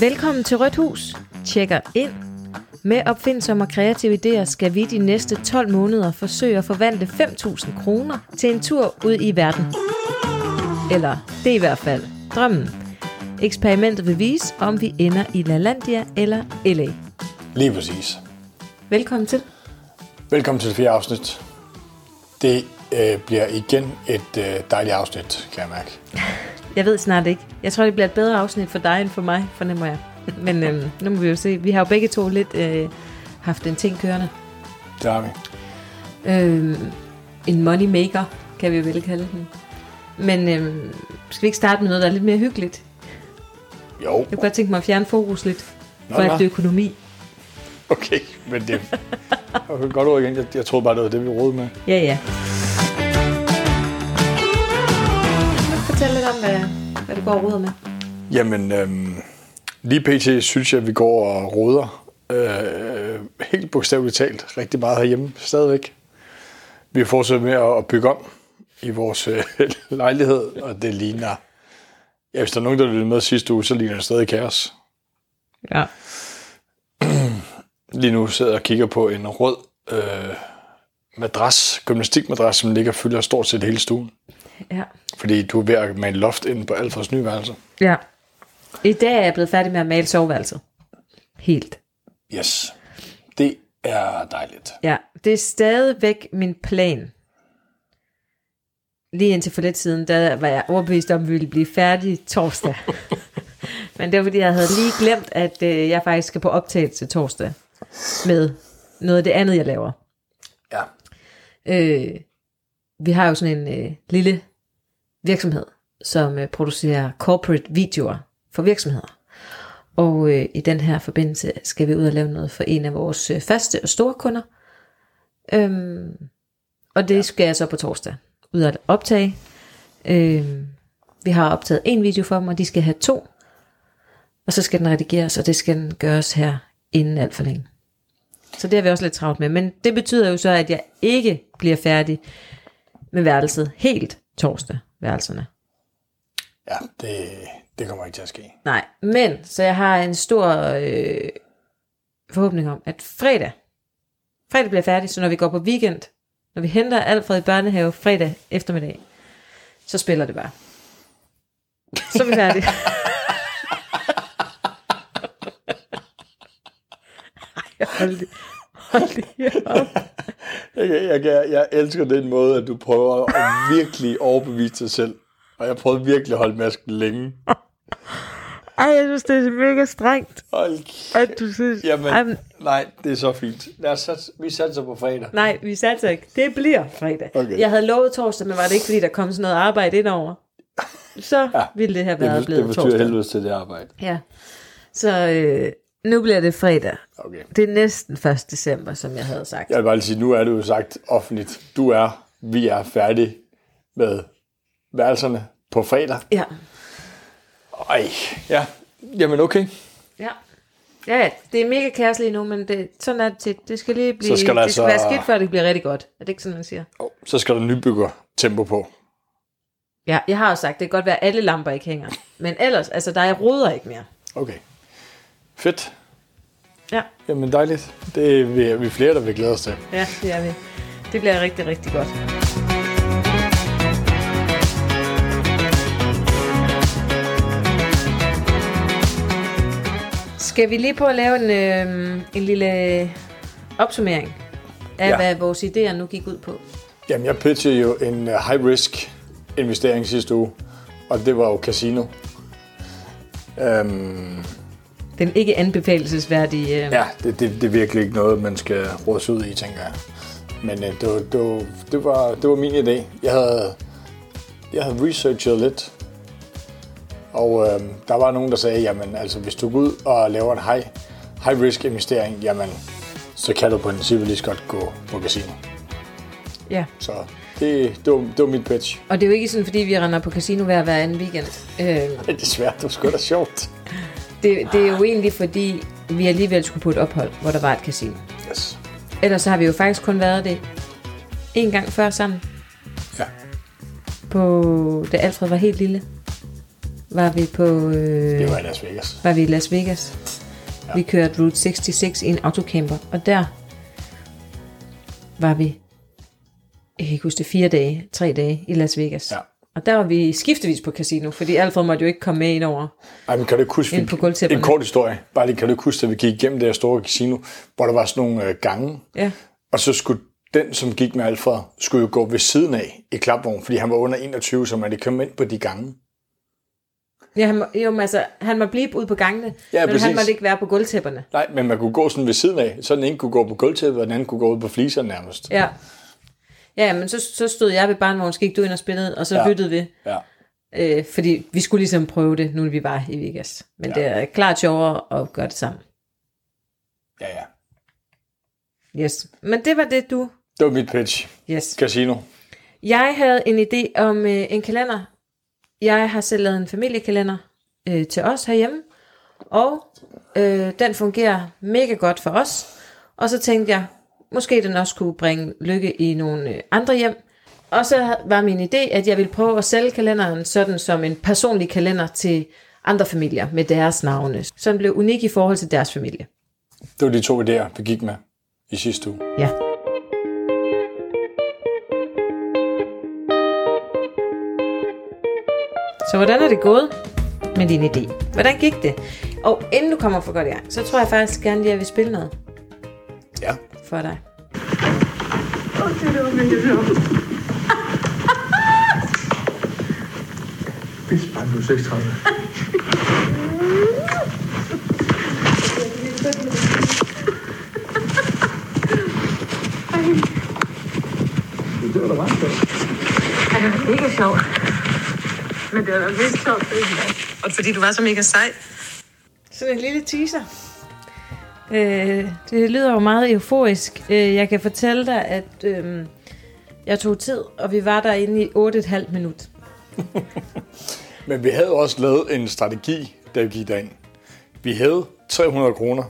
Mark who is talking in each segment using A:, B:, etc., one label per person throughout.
A: Velkommen til Rødt Hus. Tjekker ind. Med opfindsomme og kreative idéer skal vi de næste 12 måneder forsøge at forvandle 5.000 kroner til en tur ud i verden. Eller det er i hvert fald drømmen. Eksperimentet vil vise, om vi ender i LaLandia eller LA.
B: Lige præcis.
A: Velkommen til.
B: Velkommen til det fjerde afsnit. Det øh, bliver igen et øh, dejligt afsnit, kan jeg mærke.
A: Jeg ved snart ikke. Jeg tror, det bliver et bedre afsnit for dig end for mig, fornemmer jeg. Men øhm, nu må vi jo se. Vi har jo begge to lidt øh, haft en ting kørende.
B: Det har vi.
A: Øhm, en moneymaker, kan vi vel kalde den. Men øhm, skal vi ikke starte med noget, der er lidt mere hyggeligt?
B: Jo,
A: Jeg kunne godt tænke mig at fjerne fokus lidt
B: Nå,
A: fra
B: nå.
A: alt det økonomi.
B: okay, men det er godt ord igen. Jeg, jeg troede bare, det var det, vi rådede med.
A: Ja, ja. Kan du fortælle lidt om, hvad, hvad du går og roder med?
B: Jamen, øhm, lige pt. synes jeg, at vi går og råder. Øh, helt bogstaveligt talt rigtig meget herhjemme stadigvæk. Vi fortsætter med at at bygge om i vores øh, lejlighed, og det ligner... Ja, hvis der er nogen, der lyttede med sidste uge, så ligner det stadig kaos.
A: Ja.
B: lige nu sidder jeg og kigger på en rød øh, madras, gymnastikmadras, som ligger og fylder stort set hele stuen.
A: ja.
B: Fordi du er ved at male loft ind på Alfreds nye værelse.
A: Ja. I dag er jeg blevet færdig med at male soveværelset. Helt.
B: Yes. Det er dejligt.
A: Ja, det er stadigvæk min plan. Lige indtil for lidt siden, der var jeg overbevist om, at vi ville blive færdige torsdag. Men det var, fordi jeg havde lige glemt, at øh, jeg faktisk skal på optagelse torsdag med noget af det andet, jeg laver.
B: Ja.
A: Øh, vi har jo sådan en øh, lille virksomhed, som øh, producerer corporate videoer for virksomheder. Og øh, i den her forbindelse skal vi ud og lave noget for en af vores øh, faste og store kunder. Øhm, og det ja. skal jeg så på torsdag ud og optage. Øhm, vi har optaget en video for dem, og de skal have to. Og så skal den redigeres, og det skal den gøres her inden alt for længe. Så det har vi også lidt travlt med. Men det betyder jo så, at jeg ikke bliver færdig med værelset helt torsdag, værelserne.
B: Ja, det, det kommer ikke til at ske.
A: Nej, men så jeg har en stor øh, forhåbning om, at fredag, fredag bliver færdig, så når vi går på weekend, når vi henter Alfred i børnehave fredag eftermiddag, så spiller det bare. Så er vi færdige. Ej, hold lige, hold lige op.
B: Jeg, jeg, jeg, jeg elsker den måde, at du prøver at virkelig overbevise dig selv. Og jeg prøvede virkelig at holde masken længe.
A: Ej, jeg synes, det er mega strengt,
B: Hold kæft.
A: at du synes... Ej, men-
B: Jamen, nej, det er så fint. Lad os, sats- vi satser på fredag.
A: Nej, vi satser ikke. Det bliver fredag.
B: Okay.
A: Jeg havde lovet torsdag, men var det ikke, fordi der kom sådan noget arbejde indover? Så ja, ville det have været
B: Det, det
A: blevet
B: betyder
A: torsdag.
B: helvede til det arbejde.
A: Ja. Så øh, nu bliver det fredag.
B: Okay.
A: Det er næsten 1. december, som jeg havde sagt.
B: Jeg vil bare lige sige, nu er det jo sagt offentligt. Du er, vi er færdige med værelserne på fredag.
A: Ja.
B: Ej, ja. Jamen okay,
A: Ja. Ja, ja. det er mega kaos lige nu, men det, sådan er det tit. Det skal lige blive,
B: Så skal der
A: det skal
B: altså-
A: være skidt, før det bliver rigtig godt. Er det ikke sådan, man siger?
B: Åh, så skal der nybygger tempo på.
A: Ja, jeg har jo sagt, det kan godt være, at alle lamper ikke hænger. Men ellers, altså, der er ruder ikke mere.
B: Okay. Fedt.
A: Ja,
B: Jamen dejligt. Det er vi flere, der vil glæde os til.
A: ja, det er vi. Det bliver rigtig, rigtig godt. Skal vi lige på at lave en, øh, en lille opsummering af, ja.
B: Ja.
A: hvad vores idéer nu gik ud på?
B: Jamen jeg pitchede jo en øh, high-risk investering sidste uge, og det var jo casino. Øhm,
A: Den ikke anbefalesværdige... Øh,
B: Ja, det, det, det er virkelig ikke noget, man skal rådes ud i, tænker jeg. Men øh, det, var, det, var, det, var, det var min idé. Jeg havde, jeg havde researchet lidt, og øh, der var nogen, der sagde, jamen altså, hvis du går ud og laver en high, high risk investering, jamen, så kan du på princippet lige så godt gå på casino.
A: ja.
B: Så det, det, var, det var mit pitch.
A: Og det er jo ikke sådan, fordi vi render på casino hver, hver anden weekend. Øh,
B: Men desværre, det var sgu da sjovt.
A: det, det er jo egentlig, fordi vi alligevel skulle på et ophold, hvor der var et casino.
B: Yes.
A: Ellers så har vi jo faktisk kun været det en gang før sammen,
B: Ja.
A: på, da Alfred var helt lille. var vi på... Øh,
B: Det var i Las Vegas.
A: var vi i Las Vegas.
B: Ja.
A: Ja. Vi kørte Route 66 i en autocamper, og der var vi, jeg kan ikke huske det, fire dage, tre dage i Las Vegas.
B: Ja.
A: Og der var vi skiftevis på casino, fordi Alfred måtte jo ikke komme med ind over.
B: Ej, men kan du ikke huske,
A: Ind på gulvtæpperne.
B: en kort historie, bare lige, kan du ikke huske, at vi gik igennem det her store casino, hvor der var sådan nogle øh, gange,
A: Ja,
B: og så skulle den, som gik med Alfred, skulle jo gå ved siden af i klapvognen, fordi han var under 21, så man ikke kom ind på de gange.
A: ja han, må, jo, men altså, han må blive ude på gangene, men
B: Ja,
A: han
B: præcis.
A: måtte ikke være på gulvtæpperne.
B: Nej, men man kunne gå sådan ved siden af, så den ene kunne gå på gulvtæppet, og den anden kunne gå ud på fliserne nærmest.
A: Ja. Ja, men så, så stod jeg ved barnvognen, så gik du ind og spillede, og så
B: Ja.
A: ja. lyttede vi.
B: Ja.
A: Øh, fordi vi skulle ligesom prøve det, nu vi var i Vegas. Men
B: Ja.
A: ja. det er klart sjovere at gøre det sammen.
B: ja, ja.
A: Yes. Men det var det, du...
B: Det var mit pitch.
A: Yes.
B: Casino.
A: Jeg havde en idé om øh, en kalender. Jeg har selv lavet en familiekalender øh, til os herhjemme, og øh, den fungerer mega godt for os. Og så tænkte jeg, måske den også kunne bringe lykke i nogle øh, andre hjem. Og så var min idé, at jeg ville prøve at sælge kalenderen sådan som en personlig kalender til andre familier med deres navne. Så den blev unik i forhold til deres familie.
B: Det var de to idéer, vi gik med i sidste uge.
A: Ja. Så hvordan er det gået med din idé? Hvordan gik det? Og inden du kommer for godt i gang, så tror jeg faktisk gerne lige, at jeg vil spille noget
B: Ja.
A: for dig.
C: Pis, bare nu 36. Det var da meget sjovt.
D: Ej, det var mega sjovt. Men det var mega sjovt. Og fordi du var så mega sej.
A: Sådan en lille teaser. Øh, det lyder jo meget euforisk. Øh, jeg kan fortælle dig, at øh, jeg tog tid, og vi var derinde i 8,5 minut.
B: Men vi havde også lavet en strategi, da vi gik derind. Vi havde 300 kroner.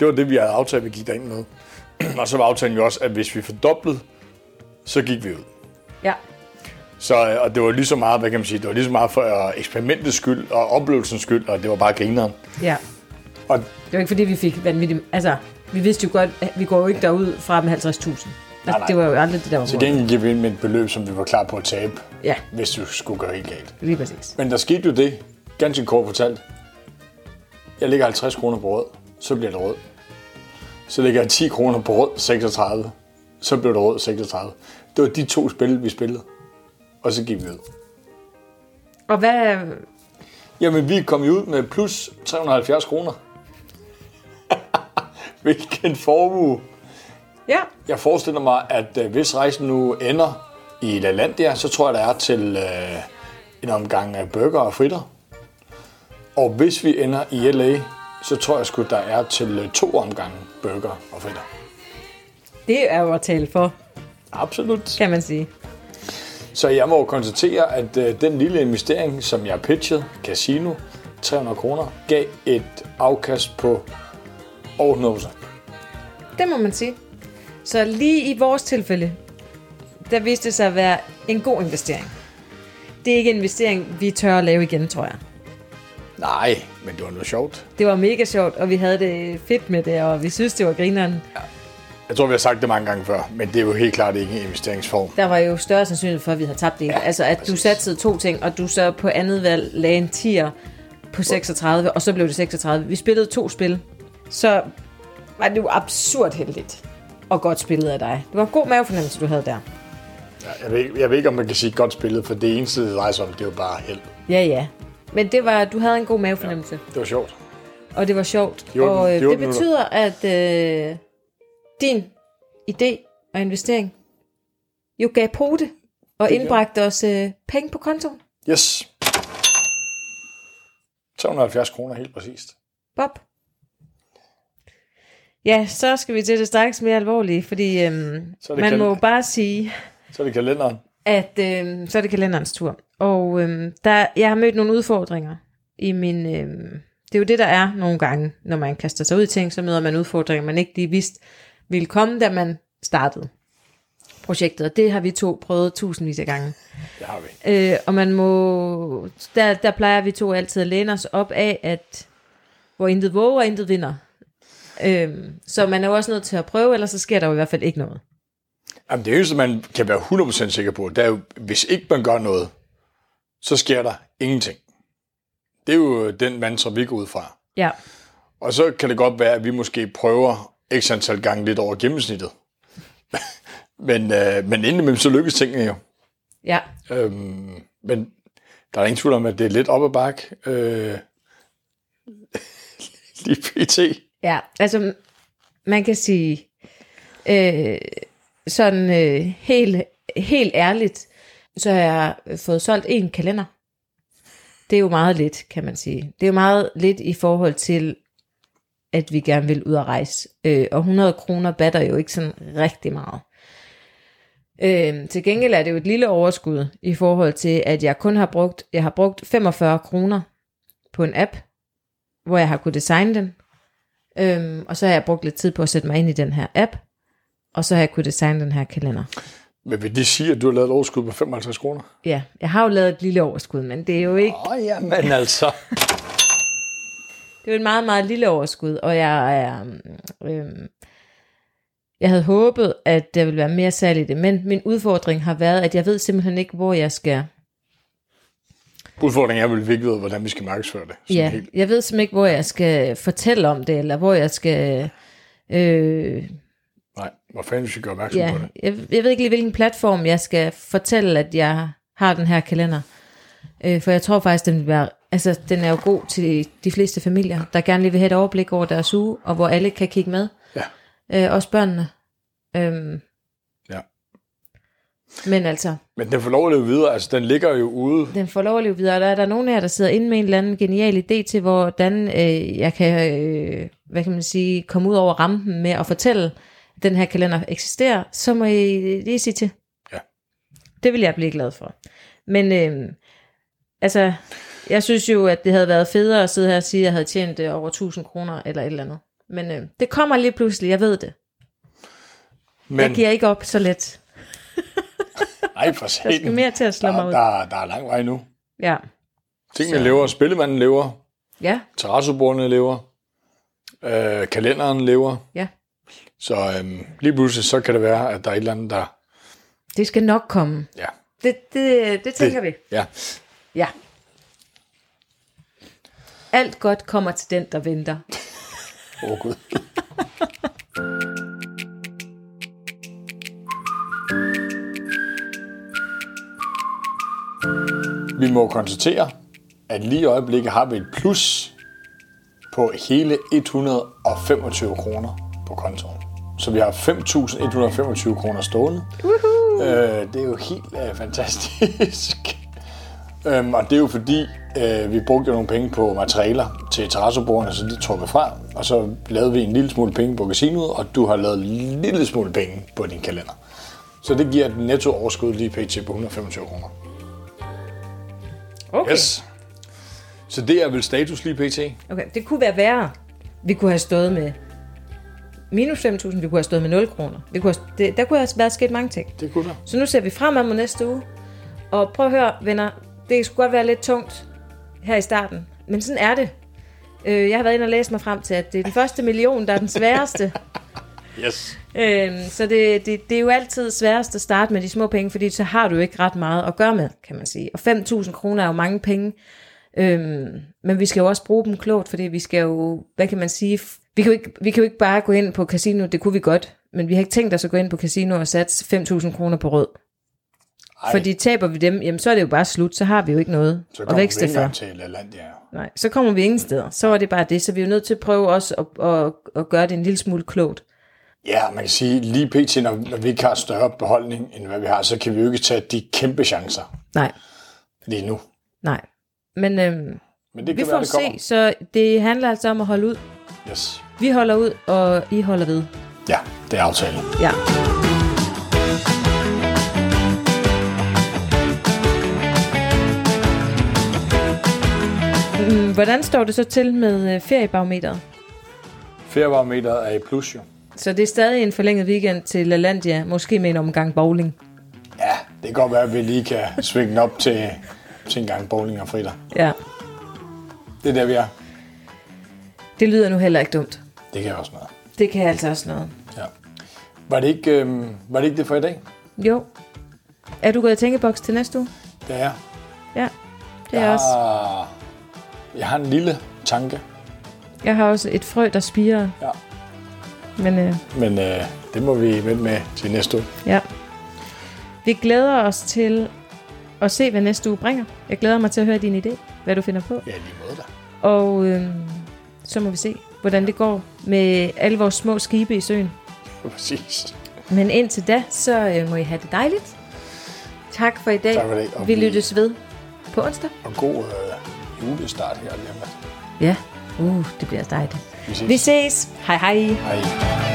B: Det var det, vi havde aftalt, vi gik derind med. Og så var aftalen jo også, at hvis vi fordoblede, så gik vi ud.
A: Ja,
B: Så, øh, og det var lige så meget, hvad kan man sige, det var lige så meget for øh, eksperimentets skyld og oplevelsens skyld, og det var bare grineren.
A: ja.
B: Og
A: Det var ikke fordi, vi fik vanvittigt... Altså, vi vidste jo godt, at vi går jo ikke derud fra med 50.000. Altså,
B: Nej, nej.
A: det var jo aldrig det, der var
B: til
A: målet.
B: gengæld gik vi ind med et beløb, som vi var klar på at tabe,
A: Ja,
B: hvis du skulle gøre helt galt.
A: lige præcis.
B: Men der skete jo det, ganske kort fortalt. Jeg lægger 50 kroner på rød, så bliver det rød. Så lægger jeg 10 kroner på rød, 36. Så blev det rød, 36. Det var de to spil, vi spillede. Og så gik vi ud.
A: Og hvad...
B: Jamen, vi kom jo ud med plus 370 kroner. Hvilken formue.
A: Ja,
B: Jeg forestiller mig, at øh, hvis rejsen nu ender i LaLandia, så tror jeg, der er til øh, en omgang af burger og fritter. Og hvis vi ender i LA, så tror jeg sgu, der er til øh, to omgange burger og fritter.
A: det er jo at tale for,
B: Absolut.
A: kan man sige.
B: Så jeg må jo konstatere, at øh, den lille investering, som jeg pitchede, casino, 300 kroner, gav et afkast på over 100%.
A: Det må man sige. Så lige i vores tilfælde, der viste det sig at være en god investering. Det er ikke en investering, vi tør at lave igen, tror jeg.
B: Nej, men det var noget sjovt.
A: Det var mega sjovt, og vi havde det fedt med det, og vi synes, det var grineren.
B: Jeg tror, vi har sagt det mange gange før, men det er jo helt klart ikke en investeringsform.
A: Der var jo større sandsynlighed for, at vi havde tabt det. Ja, altså, at du
B: præcis.
A: satte to ting, og du så på andet valg lagde en 10'er på 36, og så blev det 36. Vi spillede to spil, så var det jo absurd heldigt og godt spillet af dig. Det var en god mavefornemmelse, du havde der.
B: Jeg ved, ikke- jeg ved ikke, om man kan sige godt spillet, for det eneste, det drejer sig om, det er jo bare held.
A: Ja, ja. Men det var, du havde en god mavefornemmelse,
B: Det var sjovt.
A: og det var sjovt.
B: De otte-
A: og
B: de
A: øh,
B: otte
A: det betyder, at øh, din idé og investering jo gav pote og indbragte os øh, penge på kontoen.
B: Yes. 270 kroner helt præcist.
A: Bob. Ja, så skal vi til det straks mere alvorlige, fordi øhm,
B: Så er det
A: man
B: kal-
A: må jo bare sige,
B: Så er det kalenderen.
A: at øhm, så er det kalenderens tur. Og øhm, der, jeg har mødt nogle udfordringer i min... Øhm, det er jo det, der er nogle gange, når man kaster sig ud i ting, så møder man udfordringer, man ikke lige vidste ville komme, da man startede projektet, og det har vi to prøvet tusindvis af gange.
B: Det har vi.
A: Øh, og man må, der, der plejer vi to altid at læne os op af, at hvor intet våger, intet vinder. Øhm, så man er jo også nødt til at prøve, ellers så sker der jo i hvert fald ikke noget.
B: Jamen, det eneste, man kan være 100% sikker på, det er jo, hvis ikke man gør noget, så sker der ingenting. Det er jo den mantra, vi går ud fra.
A: Ja,
B: Og så kan det godt være, at vi måske prøver x antal gange lidt over gennemsnittet. men, øh, men indimellem så lykkes tingene jo.
A: ja,
B: Øhm, men der er ingen tvivl om, at det er lidt op ad bakke. Øh, lige pt.
A: ja. Altså, man kan sige, øh, sådan øh, helt, helt ærligt, så har jeg fået solgt en kalender. Det er jo meget lidt, kan man sige. Det er jo meget lidt i forhold til, at vi gerne vil ud og rejse. Øh, og 100 kroner batter jo ikke sådan rigtig meget. Øh, til gengæld er det jo et lille overskud i forhold til, at jeg kun har brugt, jeg har brugt 45 kroner på en app, hvor jeg har kunnet designe den. Øhm, og så har jeg brugt lidt tid på at sætte mig ind i den her app, og så har jeg kunnet designe den her kalender.
B: Men vil det sige, at du har lavet et overskud på 55 kroner?
A: Ja, jeg har jo lavet et lille overskud, men det er jo ikke,
B: Åh, oh, jamen altså.
A: det er jo et meget, meget lille overskud, og jeg er, øhm, jeg havde håbet, at der ville være mere salg i det, men min udfordring har været, at jeg ved simpelthen ikke, hvor jeg skal
B: Udfordringen er vel, at vi ikke ved, hvordan vi skal markedsføre det. Sådan
A: Ja,
B: helt.
A: jeg ved simpelthen ikke, hvor jeg skal fortælle om det, eller hvor jeg skal... Øh,
B: Nej, hvor fanden vi skal gøre opmærksom
A: ja,
B: på det.
A: jeg, jeg ved ikke lige, hvilken platform jeg skal fortælle, at jeg har den her kalender. Øh, for jeg tror faktisk, den vil være... Altså, den er jo god til de fleste familier, der gerne lige vil have et overblik over deres uge, og hvor alle kan kigge med.
B: Ja.
A: Øh, også børnene. Øhm,
B: Ja.
A: Men altså,
B: Men den får lov at leve videre. Altså, den ligger jo ude.
A: den får lov at leve videre. Der er der nogen af jer, der sidder inde med en eller anden genial idé til, hvordan øh, jeg kan, øh, hvad kan man sige, komme ud over rampen med at fortælle, at den her kalender eksisterer, så må I lige sige til.
B: Ja.
A: Det vil jeg blive glad for. Men øh, altså, jeg synes jo, at det havde været federe at sidde her og sige, at jeg havde tjent øh, over 1000 kroner eller et eller andet. Men øh, det kommer lige pludselig, jeg ved det. Men...
B: Men,
A: Jeg giver ikke op så let.
B: nej, for
A: Der skal
B: satan.
A: mere til at slå mig
B: Der,
A: ud.
B: der, der er lang vej nu.
A: Ja.
B: Tingene så. lever, spillemanden lever,
A: Ja,
B: terrassebordene lever, øh, kalenderen lever.
A: ja.
B: Så øhm, lige pludselig så kan det være, at der er et eller andet, der...
A: Det skal nok komme.
B: Ja,
A: Det, det, det tænker vi.
B: ja.
A: Ja. Alt godt kommer til den, der venter.
B: Åh, oh, Gud. Vi må konstatere, at lige i øjeblikket har vi et plus på hele 125 kroner på kontoen. Så vi har 5.125 kroner stående. Uh-huh. Øh, det er jo helt øh, fantastisk. øhm, og det er jo fordi, øh, vi brugte jo nogle penge på materialer til terrassobordene, så de tog vi fra. Og så lavede vi en lille smule penge på casinoet, og du har lavet en lille smule penge på din kalender. Så det giver et netto overskud lige pt. på 125 kroner.
A: Okay.
B: Yes. Så det er vel status lige pt.
A: okay. Det kunne være værre. Vi kunne have stået med minus 5.000, vi kunne have stået med 0 kroner. Vi kunne have, det, der kunne have været sket mange ting.
B: Det kunne der.
A: Så nu ser vi fremad mod næste uge. Og prøv at høre, venner, det skulle godt være lidt tungt her i starten, men sådan er det. Øh, Jeg har været inde og læst mig frem til, at det er den første million, der er den sværeste.
B: Yes.
A: Øhm, så det, det, det er jo altid sværest at starte med de små penge, fordi så har du jo ikke ret meget at gøre med, kan man sige. Og 5.000 kroner er jo mange penge, øhm, men vi skal jo også bruge dem klogt, fordi vi skal jo, hvad kan man sige, f- vi kan, jo ikke, vi kan jo ikke bare gå ind på casino, det kunne vi godt, men vi har ikke tænkt os at gå ind på casino og satse 5.000 kroner på rød.
B: Ej.
A: Fordi taber vi dem, jamen så er det jo bare slut, så har vi jo ikke noget
B: Så
A: at
B: kommer vi
A: vækste
B: ikke
A: for.
B: engang til Lalandia. jo.
A: Nej, så kommer vi ingen steder. Så er det bare det, så vi er jo nødt til at prøve også at, at, at gøre det en lille smule klogt.
B: Ja, man kan sige, lige pt. Når, når vi ikke har større beholdning, end hvad vi har, så kan vi jo ikke tage de kæmpe chancer
A: Nej,
B: lige nu.
A: nej. Men øhm,
B: Men det
A: Vi
B: kan
A: får
B: være, det kommer.
A: se, så det handler altså om at holde ud.
B: Yes.
A: Vi holder ud, og I holder ved.
B: Ja, det er aftalen.
A: Ja. Mm, Hvordan står det så til øh, med øh, feriebarometeret?
B: Feriebarometeret er i plus jo.
A: Så det er stadig en forlænget weekend til LaLandia, måske med en omgang bowling.
B: Ja, det kan godt være, at vi lige kan svinge den op til, til en gang bowling og fritter.
A: Ja,
B: Det er der, vi er.
A: det lyder nu heller ikke dumt.
B: Det kan også noget.
A: Det kan altså også noget.
B: Ja. Var, det ikke, øhm, var det ikke det for i dag?
A: Jo. Er du gået i tænkeboks til næste uge?
B: Det er
A: Ja, det er jeg også.
B: har, Ah. jeg har en lille tanke,
A: Jeg har også et frø, der spirer.
B: Ja.
A: Men øh,
B: men øh, det må vi vente med til næste uge.
A: ja. Vi glæder os til at se, hvad næste uge bringer. Jeg glæder mig til at høre din idé, hvad du finder på.
B: Ja, lige måde da.
A: Og øh, så må vi se, hvordan det går med alle vores små skibe i søen.
B: Præcis.
A: Men indtil da, så øh, må I have det dejligt. Tak for i dag.
B: Tak for i dag, og
A: Vi
B: vi-
A: lyttes ved på onsdag.
B: Og god øh, julestart her lige om lidt.
A: Ja, uh, det bliver dejligt.
B: Vi ses.
A: Vi ses. Hej hej.
B: Hej.